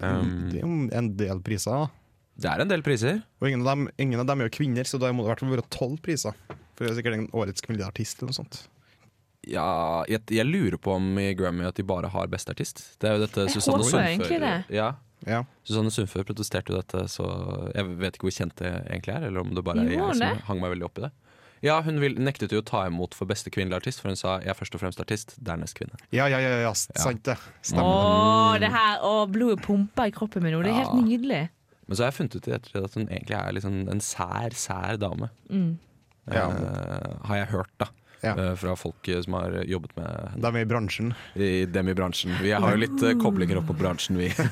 Speaker 2: Um,
Speaker 5: Det er jo en del priser. da.
Speaker 2: det er en del priser.
Speaker 5: Og ingen av, dem, ingen av dem er jo kvinner, så da må det i hvert fall være tolv priser. For det er sikkert en årets kvinnelige artist eller noe sånt.
Speaker 2: Ja, jeg, jeg lurer på om i Grammy at de bare har beste artist. Det er jo dette
Speaker 6: Jeg
Speaker 2: Susanne
Speaker 6: håper egentlig
Speaker 2: Sundfør
Speaker 6: det.
Speaker 2: ja,
Speaker 5: Ja.
Speaker 2: Susanne Sundfør protesterte jo dette, så jeg vet ikke hvor kjent det egentlig er. Eller om det bare er
Speaker 6: Gjorde
Speaker 2: jeg
Speaker 6: hun
Speaker 2: som
Speaker 6: det?
Speaker 2: hang meg veldig opp i det. Ja, Hun vil, nektet jo å ta imot for beste kvinnelige artist, for hun sa 'jeg er først og fremst artist, dernest kvinne'.
Speaker 5: Ja, ja, ja, ja, s- sant det. Stemmer.
Speaker 6: Å, det her, å, blodet pumper i kroppen min nå. Det er helt
Speaker 2: Ja.
Speaker 6: nydelig.
Speaker 2: Men så har jeg funnet ut i ettertid at hun egentlig er liksom en sær, sær dame.
Speaker 6: Mm.
Speaker 5: Ja.
Speaker 2: Eh, har jeg hørt, da.
Speaker 5: Ja.
Speaker 2: eh, Fra folk eh, som har jobbet med henne
Speaker 5: De er i bransjen.
Speaker 2: i dem i bransjen. Vi har jo litt eh, koblinger opp mot bransjen, vi.
Speaker 5: Jeg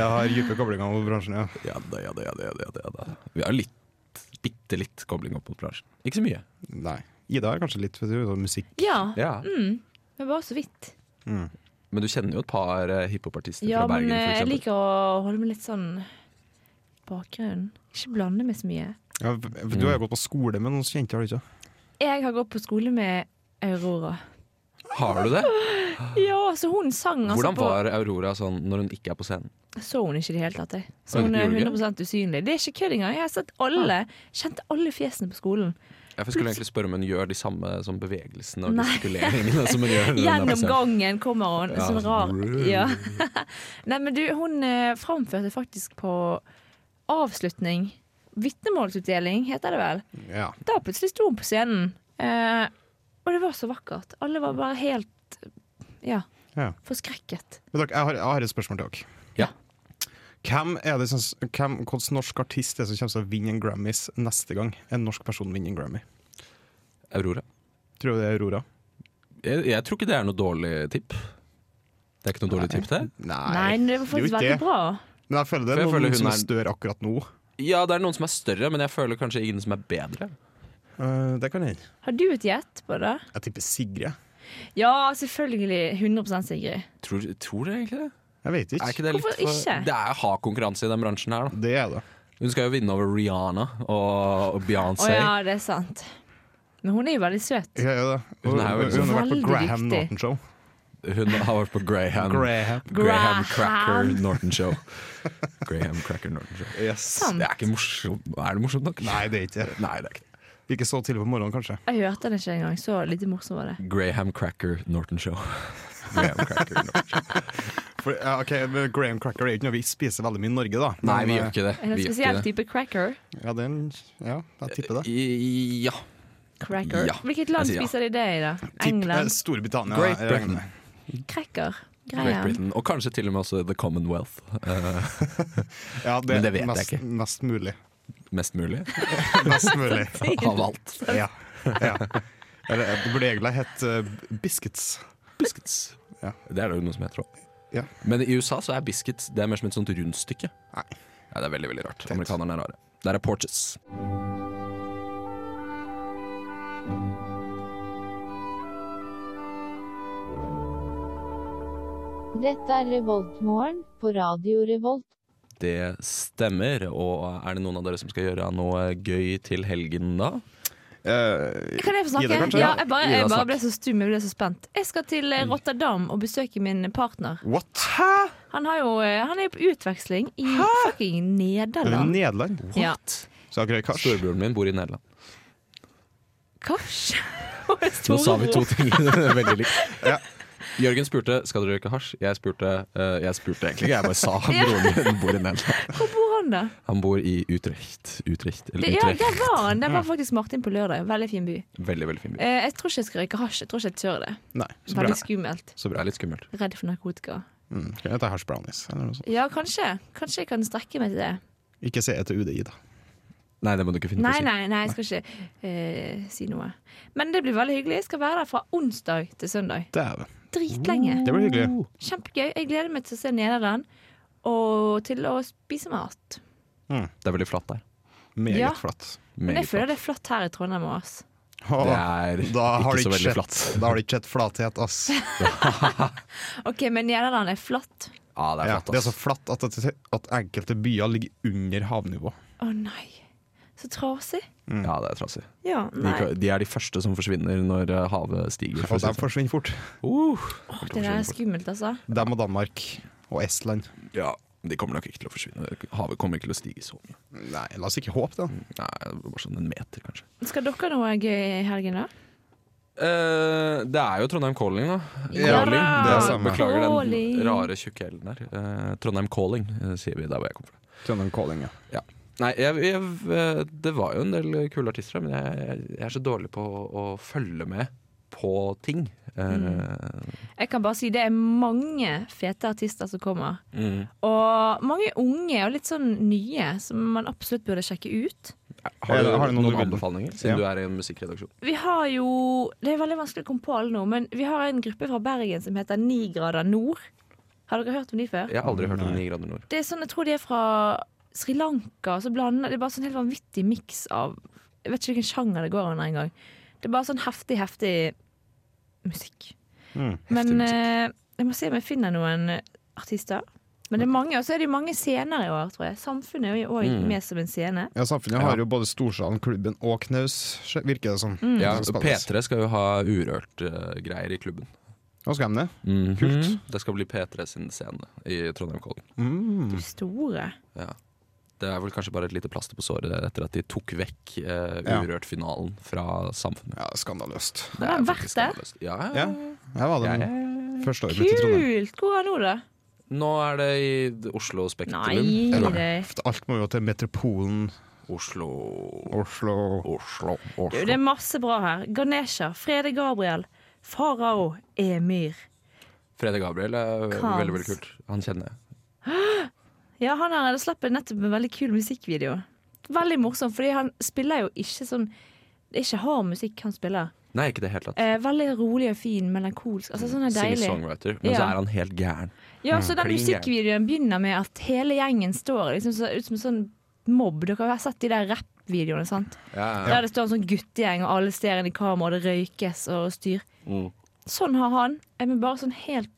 Speaker 5: har dype koblinger mot bransjen, ja.
Speaker 2: ja da, ja da, ja da, ja da, ja da. Vi har litt, bitte litt kobling opp mot bransjen. Ikke så mye.
Speaker 5: Nei. Ida er kanskje litt for du, sånn musikk.
Speaker 6: Ja,
Speaker 2: Ja.
Speaker 6: men bare så vidt.
Speaker 2: Men du kjenner jo et par eh, hiphopartister
Speaker 6: Ja,
Speaker 2: fra Bergen,
Speaker 6: men eh,
Speaker 2: for
Speaker 6: jeg
Speaker 2: eksempel.
Speaker 6: liker å holde meg litt sånn bakgrunnen. Ikke blande meg så mye.
Speaker 5: Ja, for du har jo gått på skole med noen kjente, har du ikke?
Speaker 6: Jeg har gått på skole med Aurora.
Speaker 2: Har du det?
Speaker 6: Ja, så hun sang altså
Speaker 2: Hvordan var Aurora sånn når hun ikke er på scenen?
Speaker 6: på Så hun ikke i det hele tatt, jeg.
Speaker 2: Oi,
Speaker 6: Så hun er
Speaker 2: gjorde du ikke? Ah.
Speaker 6: 100 usynlig. Det er ikke kødd engang. Jeg har sett alle, kjente alle fjesene på skolen.
Speaker 2: Jeg skulle egentlig spørre om hun gjør de samme sånn, bevegelsene og
Speaker 6: Nei.
Speaker 2: gestikuleringene som hun gjør. når hun er på
Speaker 6: Gjennom
Speaker 2: scenen.
Speaker 6: gangen kommer hun,
Speaker 2: Ja.
Speaker 6: sånn rar. Ja. [laughs] Nei, men du, hun eh, framførte faktisk på avslutning. Vitnemålsutdeling, heter det vel.
Speaker 5: Ja.
Speaker 6: da plutselig sto hun på scenen. Eh, og det var så vakkert. Alle var bare helt ja,
Speaker 5: Ja.
Speaker 6: forskrekket.
Speaker 5: Men dere, jeg har, jeg har et spørsmål til dere.
Speaker 2: Ja.
Speaker 5: Hvem er det som, hvem, Hvilken norsk artist er det som kommer til å vinne en Grammys neste gang en norsk person vinner en Grammy?
Speaker 2: Aurora.
Speaker 5: Tror du det er Aurora?
Speaker 2: Jeg, jeg tror ikke det er noe dårlig tipp. Det er ikke noe dårlig tipp, det?
Speaker 6: Nei, det var
Speaker 5: det er
Speaker 6: faktisk
Speaker 5: jo
Speaker 6: veldig
Speaker 5: ikke
Speaker 6: bra.
Speaker 5: det. Men jeg føler det
Speaker 2: For
Speaker 5: er
Speaker 2: jeg
Speaker 5: noen
Speaker 2: føler hun
Speaker 5: som
Speaker 2: er-
Speaker 5: er større akkurat nå.
Speaker 2: Ja, det er noen som er større, men jeg føler kanskje ingen som er bedre.
Speaker 5: Eh, det kan hende.
Speaker 6: Har du et gjett på det?
Speaker 5: Jeg tipper Sigrid.
Speaker 6: Ja, selvfølgelig. 100 Sigrid.
Speaker 2: Tror, tror dere egentlig det?
Speaker 5: Jeg vet
Speaker 2: Er
Speaker 5: ikke.
Speaker 2: ikke det litt
Speaker 6: Hvorfor ikke?
Speaker 2: Det er hard konkurranse i den bransjen her, da.
Speaker 5: Det er det.
Speaker 2: Hun skal jo vinne over Rihanna og, og
Speaker 6: Å
Speaker 2: Beyoncé.
Speaker 6: ja, det er sant. Men hun er jo veldig søt.
Speaker 5: Ja, ja, det.
Speaker 2: Hun er jo
Speaker 5: hun har vært på
Speaker 6: veldig
Speaker 5: Graham
Speaker 6: viktig.
Speaker 5: Norton Show.
Speaker 2: Hun har vært på Graham.
Speaker 5: Graham.
Speaker 2: Graham
Speaker 6: Graham.
Speaker 2: Cracker Norton Show. Graham Cracker Norton Show.
Speaker 5: Yes.
Speaker 6: Sant.
Speaker 2: Det er ikke morsomt. Er det morsomt nok?
Speaker 5: Nei, det er ikke det.
Speaker 2: Nei, det er ikke det.
Speaker 5: Ikke så tidlig på morgenen, kanskje.
Speaker 6: Jeg hørte den ikke engang. Så lite morsom var det.
Speaker 2: Graham Cracker Norton Show. Graham Cracker Norton Show.
Speaker 5: For, ja, ok, men Graham cracker er ikke noe vi spiser veldig mye i Norge, da. eh,
Speaker 2: Nei, vi gjør ikke det.
Speaker 6: En
Speaker 2: Vi gjør
Speaker 6: spesiell
Speaker 2: ikke det.
Speaker 6: type cracker.
Speaker 5: Ja, det er en, ja jeg tipper det.
Speaker 2: I- Ja.
Speaker 6: cracker.
Speaker 2: Ja.
Speaker 6: Hvilket
Speaker 2: Jeg
Speaker 6: land
Speaker 2: sier ja.
Speaker 6: spiser de det i, da?
Speaker 5: Tipp, eh,
Speaker 6: England?
Speaker 5: Storbritannia.
Speaker 2: Great
Speaker 5: jeg
Speaker 2: Britain.
Speaker 5: regner med.
Speaker 6: Cracker?
Speaker 2: Great
Speaker 6: Greia.
Speaker 2: Britain. Og kanskje til og med også The Commonwealth. Eh,
Speaker 5: Ja, det,
Speaker 2: Men
Speaker 5: er
Speaker 2: det vet jeg
Speaker 5: mest,
Speaker 2: ikke.
Speaker 5: Mest mulig.
Speaker 2: mest
Speaker 6: [laughs]
Speaker 2: mulig
Speaker 5: Mest mulig.
Speaker 2: av alt.
Speaker 5: Ja. ja. Eller, det burde egentlig hett eh, Biscuits.
Speaker 2: Biscuits.
Speaker 5: Ja.
Speaker 2: Det er det jo noe som heter òg.
Speaker 5: Ja.
Speaker 2: Men i USA så er biscuits det er mer som et sånt rundstykke.
Speaker 5: Nei.
Speaker 2: Ja, det er veldig veldig rart. Amerikanerne er rare. Der er porches.
Speaker 8: Dette er Revoltmorgen på Radio Revolt.
Speaker 2: Det stemmer. Og er det noen av dere som skal gjøre noe gøy til helgen da?
Speaker 5: Eh,
Speaker 6: Kan jeg
Speaker 5: Ida,
Speaker 6: få snakke?
Speaker 5: kanskje?
Speaker 6: ja, jeg bare,
Speaker 2: Ida,
Speaker 6: jeg bare
Speaker 2: snakk. Mm.
Speaker 6: ble så stum, jeg ble så spent. Jeg skal til eh, Rotterdam og besøke min partner.
Speaker 5: what? Hæ?
Speaker 6: Han, har jo, eh, han er jo på utveksling i fucking Nederland.
Speaker 5: Nederland?
Speaker 6: Ja.
Speaker 5: Så akkurat kars.
Speaker 2: Storebroren min bor i Nederland.
Speaker 6: [laughs] Kars?
Speaker 2: Nå sa vi to ting [laughs] veldig likt.
Speaker 5: Ja.
Speaker 2: Jørgen spurte skal dere røyke hasj. Jeg spurte, eh, jeg spurte egentlig ikke, jeg bare sa broren min bor i Nederland.
Speaker 6: Hvor bor han, da?
Speaker 2: Han bor i Utrecht. Utrecht, eller
Speaker 6: Det, ja,
Speaker 2: Utrecht.
Speaker 6: der var han. Der var faktisk Martin på lørdag. Veldig fin by.
Speaker 2: Veldig, veldig fin by.
Speaker 6: Eh, jeg tror ikke jeg skal røyke hasj. Jeg tror ikke jeg tør det.
Speaker 5: Nei, så bra.
Speaker 6: Veldig skummelt.
Speaker 2: Så bra. Det er litt skummelt.
Speaker 6: Redd for narkotika.
Speaker 5: Mm, skal jeg ta hasj brownies eller noe sånt?
Speaker 6: Ja, kanskje. Kanskje jeg kan strekke meg til det.
Speaker 5: Ikke se etter UDI, da.
Speaker 2: Nei, det må du ikke finne
Speaker 6: Nei,
Speaker 2: på å si.
Speaker 6: nei, nei, jeg skal ikke eh, si noe. Men det blir veldig hyggelig. Jeg skal være der fra onsdag til søndag.
Speaker 5: Dæven.
Speaker 6: Dritlenge.
Speaker 5: Mm. Det blir hyggelig.
Speaker 6: Kjempegøy. Jeg gleder meg til å se Nederland og til å spise mat.
Speaker 2: Det er veldig flatt der.
Speaker 5: Meget
Speaker 6: Ja.
Speaker 5: flatt.
Speaker 6: Men jeg
Speaker 2: Meget
Speaker 6: føler det er flott her i Trondheim òg.
Speaker 5: Åh,
Speaker 2: Det er
Speaker 5: da har
Speaker 2: ikke så
Speaker 5: du ikke
Speaker 2: veldig
Speaker 5: sett-
Speaker 2: flatt.
Speaker 5: Da har du ikke sett flathet, ass.
Speaker 2: [laughs]
Speaker 6: OK, men Nederland er flatt.
Speaker 2: Ja, det er
Speaker 5: Ja,
Speaker 2: flatt,
Speaker 5: det er
Speaker 2: ass.
Speaker 5: så flatt at, at enkelte byer ligger under havnivå.
Speaker 6: Å nei. Så trasig.
Speaker 2: Ja, det er trassig.
Speaker 6: Ja,
Speaker 2: mm. De,
Speaker 6: nei.
Speaker 2: de er de første som forsvinner når eh, havet stiger. for å
Speaker 5: Og
Speaker 2: si
Speaker 5: de
Speaker 2: det sånn.
Speaker 5: forsvinner fort.
Speaker 2: Uh,
Speaker 6: Åh, det der er skummelt, altså.
Speaker 5: Dem og Danmark og Estland.
Speaker 2: ja, de kommer nok ikke til å forsvinne. Havet kommer ikke til å stige så mye.
Speaker 5: Nei, la oss ikke håpe det.
Speaker 2: Nei, Bare sånn en meter, kanskje.
Speaker 6: Skal dere noe gøy i helgen, da?
Speaker 2: Eh, det er jo Trondheim Calling, da.
Speaker 5: Ja,
Speaker 2: Calling.
Speaker 5: det er samme.
Speaker 2: Beklager
Speaker 6: Calling.
Speaker 2: den rare tjukke L-en der. Eh, Trondheim Calling, eh, sier vi der hvor jeg kommer fra.
Speaker 5: Trondheim Calling, ja.
Speaker 2: Nei, jeg, jeg, eh, det var jo en del kule artister her, men jeg, jeg er så dårlig på å, å følge med på ting. Eh,
Speaker 6: Jeg kan bare si det er mange fete artister som kommer.
Speaker 2: mm.
Speaker 6: Og mange unge og litt sånn nye som man absolutt burde sjekke ut.
Speaker 2: Har du,
Speaker 5: Har
Speaker 2: noen,
Speaker 5: du noen du vil-
Speaker 2: anbefalinger, siden
Speaker 5: Ja.
Speaker 2: du er i en musikkredaksjon?
Speaker 6: Vi har jo Det er veldig vanskelig å komme på alle nå, men vi har en gruppe fra Bergen som heter Ni grader nord. Har dere hørt om de før?
Speaker 2: Jeg har aldri hørt om Ni grader nord.
Speaker 6: Det er sånn, Jeg tror de er fra Sri Lanka. Så blander, det er bare sånn helt vanvittig miks av Jeg vet ikke hvilken sjanger det går under engang. Det er bare sånn heftig, heftig musikk.
Speaker 5: Mm.
Speaker 6: Men
Speaker 2: musikk.
Speaker 6: eh, jeg må se om jeg finner noen eh, artister. Men det er mange, og så er det jo mange scener i år, tror jeg. Samfunnet er jo òg
Speaker 2: Mm.
Speaker 6: med som en scene.
Speaker 5: Ja, Samfunnet har jo både Storsalen, klubben og Knaus, virker det som.
Speaker 6: Mm.
Speaker 2: Ja,
Speaker 5: Det skal spilles.
Speaker 2: P3 skal jo ha Urørt-greier i klubben.
Speaker 5: Nå skal de det.
Speaker 2: Kult. Det skal bli P3 sin scene i Trondheim Calling. Mm.
Speaker 6: De
Speaker 5: Mm.
Speaker 6: store.
Speaker 2: Ja. Det er vel kanskje bare et lite plaster på såret etter at de tok vekk eh,
Speaker 5: Ja.
Speaker 2: Urørt-finalen fra Samfunnet.
Speaker 5: Ja, skandaløst.
Speaker 6: Har han vært
Speaker 2: faktisk
Speaker 6: der?
Speaker 2: skandaløst. Ja,
Speaker 5: Ja,
Speaker 2: ja.
Speaker 5: jeg var det
Speaker 2: ja, ja.
Speaker 5: første året mitt i Trondheim.
Speaker 6: Kult! Hvor er han nå, da?
Speaker 2: Nå er det i Oslo Spektrum.
Speaker 6: Nei, gi
Speaker 2: Eller
Speaker 6: deg.
Speaker 5: Alt må jo til metropolen
Speaker 2: Oslo
Speaker 5: Oslo.
Speaker 2: Oslo,
Speaker 6: Du, det
Speaker 2: Oslo.
Speaker 6: er masse bra her. Ganesha, Frede Gabriel, Farao, Emir.
Speaker 2: Frede Gabriel er
Speaker 6: Kans.
Speaker 2: veldig veldig kult. Han kjenner jeg.
Speaker 6: Ja, han har slapp nettopp en veldig kul musikkvideo. Veldig morsom, fordi han spiller jo ikke sånn Det er ikke hard musikk han spiller.
Speaker 2: Nei, ikke i det hele tatt.
Speaker 6: Eh, veldig rolig og fin, melankolsk. Altså sånn er deilig.
Speaker 2: Singer-songwriter. Men
Speaker 6: Ja.
Speaker 2: så er han helt gæren.
Speaker 6: Ja, så den
Speaker 2: Kling, ja.
Speaker 6: musikkvideoen begynner med at hele gjengen står liksom så, ut som en sånn mobb. Dere har sett de der rappvideoene, sant?
Speaker 2: Ja, ja.
Speaker 6: Der det står en sånn guttegjeng, og alle ser inn i kamera, og det røykes og styr.
Speaker 2: Mm.
Speaker 6: Sånn har han. eh, Men bare sånn helt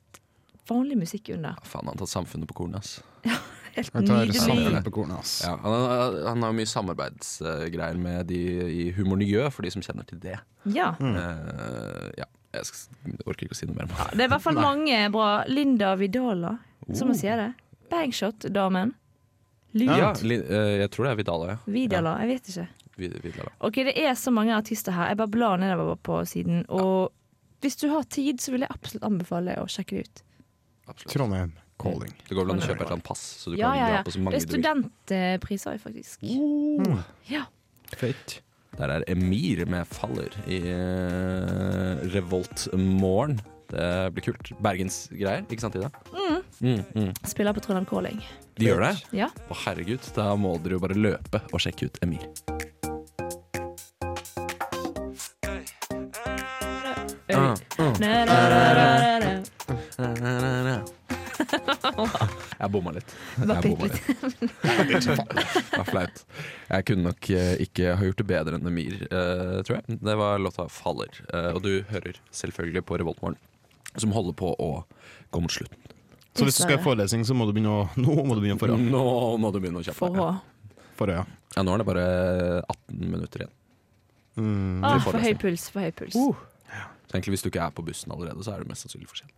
Speaker 6: vanlig musikk under.
Speaker 2: Faen, han har tatt samfunnet på kornet, ass.
Speaker 6: Helt
Speaker 5: Jeg tar
Speaker 6: nydelig.
Speaker 5: samfunnet på kornet, ass.
Speaker 2: Ja, han, har- han har mye samarbeidsgreier med de i Humorniø, for de som kjenner til det.
Speaker 6: Ja.
Speaker 2: Eh, ja. Jeg sk- orker ikke å si noe mer om det.
Speaker 6: Det er i hvert fall mange bra. Linda Vidala, som man sier det. Bangshot-damen. Lyd.
Speaker 2: Oh. Ja, li, eh, jeg tror det er Vidala, ja.
Speaker 6: Vidala, jeg vet ikke.
Speaker 2: Vid, Vidala.
Speaker 6: Ok, Det er så mange artister her. Jeg bare blar nedover på siden. Og hvis du har tid, så vil jeg absolutt anbefale å sjekke det ut.
Speaker 2: Absolutt.
Speaker 5: Trondheim calling.
Speaker 2: Det går vel an å kjøpe et eller annet pass, så du
Speaker 6: Ja,
Speaker 2: kan
Speaker 6: ja, ja.
Speaker 2: dra på så mange
Speaker 6: Det er
Speaker 2: du vil. Oh.
Speaker 6: studentpriser òg, faktisk. Ja.
Speaker 5: Fett.
Speaker 2: Der er Emir med Faller i uh, Revolt Morgen. Det blir kult. Bergensgreier, ikke sant Ida? Mm, mm.
Speaker 6: Spiller på Trondheim Calling.
Speaker 2: De gjør det?
Speaker 6: Ja.
Speaker 2: Å herregud, da må dere jo bare løpe og sjekke ut Emir.
Speaker 6: Eh,
Speaker 2: Ah, ah.
Speaker 6: Na-na-na-na-na.
Speaker 2: Jeg bomma litt.
Speaker 6: Bare
Speaker 2: Jeg
Speaker 6: bitte
Speaker 2: bomma litt. [laughs]
Speaker 6: [laughs]
Speaker 2: Det var flaut. Jeg kunne nok eh, ikke ha gjort det bedre enn Emir, eh, tror jeg. Det var låta 'Faller'. eh, og du hører selvfølgelig på Revoltmorgen, som holder på å gå mot slutten.
Speaker 5: Så hvis du skal i forelesning, så må du begynne å Nå må du begynne å
Speaker 2: Nå må du begynne å kjappe
Speaker 6: For
Speaker 2: deg.
Speaker 6: å
Speaker 5: forøya.
Speaker 2: Ja, nå er det bare 18 minutter igjen.
Speaker 5: Mm.
Speaker 6: Ah,
Speaker 2: får
Speaker 6: for
Speaker 2: det Oh.
Speaker 6: høy
Speaker 2: seg.
Speaker 6: puls, for høy puls.
Speaker 2: Så egentlig Hvis du ikke er på bussen allerede, så er du mest sannsynlig for sent.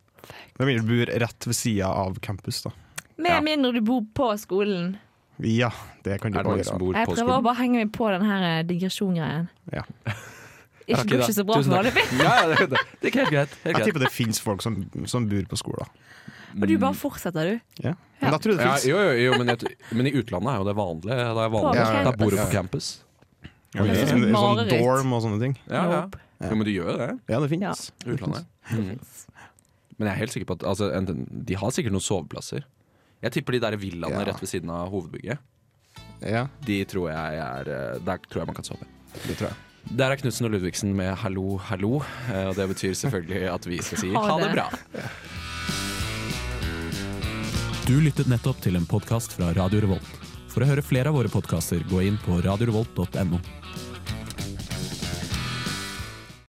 Speaker 5: Hvem vil bor rett ved sida av campus, da?
Speaker 6: Med
Speaker 2: Ja.
Speaker 6: mindre du bor på skolen.
Speaker 5: Ja, det kan du
Speaker 2: Er det
Speaker 5: bare
Speaker 2: mange som
Speaker 5: gjøre.
Speaker 2: bor
Speaker 6: Jeg
Speaker 2: på
Speaker 6: prøver å
Speaker 2: skolen?
Speaker 6: bare henge meg på den her eh, digresjongreien.
Speaker 5: Ja.
Speaker 6: Ikke
Speaker 2: rakk
Speaker 6: går
Speaker 2: det.
Speaker 6: ikke så bra
Speaker 2: Tusen
Speaker 6: for
Speaker 2: takk.
Speaker 6: vanlig.
Speaker 2: Ja, ja, det, det, det er ikke helt greit. Helt
Speaker 5: Jeg
Speaker 2: greit.
Speaker 5: tipper det fins folk som, som bor på skolen.
Speaker 6: Og du
Speaker 2: Mm.
Speaker 6: bare fortsetter, du.
Speaker 5: Ja. Men da tror jeg det
Speaker 2: Ja,
Speaker 5: fins.
Speaker 2: jo, jo, jo men, jeg, men i utlandet er jo det vanlig. Det er vanlig.
Speaker 6: På
Speaker 2: Da bor du på
Speaker 5: campus.
Speaker 2: campus.
Speaker 5: Ja,
Speaker 6: Det er
Speaker 5: sånn,
Speaker 6: sånn
Speaker 5: sånn
Speaker 6: mareritt.
Speaker 5: dorm og sånne ting.
Speaker 2: Ja, ja.
Speaker 6: Nope.
Speaker 2: Jo, men du gjør jo det.
Speaker 5: Ja, det fins.
Speaker 6: Ja.
Speaker 2: i
Speaker 6: [laughs]
Speaker 2: Utlandet. Mm. Men jeg er helt sikker på at altså, enten- de har sikkert noen soveplasser. Jeg tipper de der villaene
Speaker 5: Ja.
Speaker 2: rett ved siden av hovedbygget.
Speaker 5: Ja,
Speaker 2: De tror jeg er eh, Der tror jeg man kan sove.
Speaker 5: det tror jeg.
Speaker 2: Der er Knutsen og Ludvigsen med 'hallo, hallo'. eh, Og det betyr selvfølgelig at vi skal si
Speaker 6: Ha
Speaker 2: ha det
Speaker 6: det.
Speaker 2: bra.
Speaker 9: Du lyttet nettopp til en podkast fra Radio Revolt. For å høre flere av våre podkaster, gå inn på radiorevolt.no.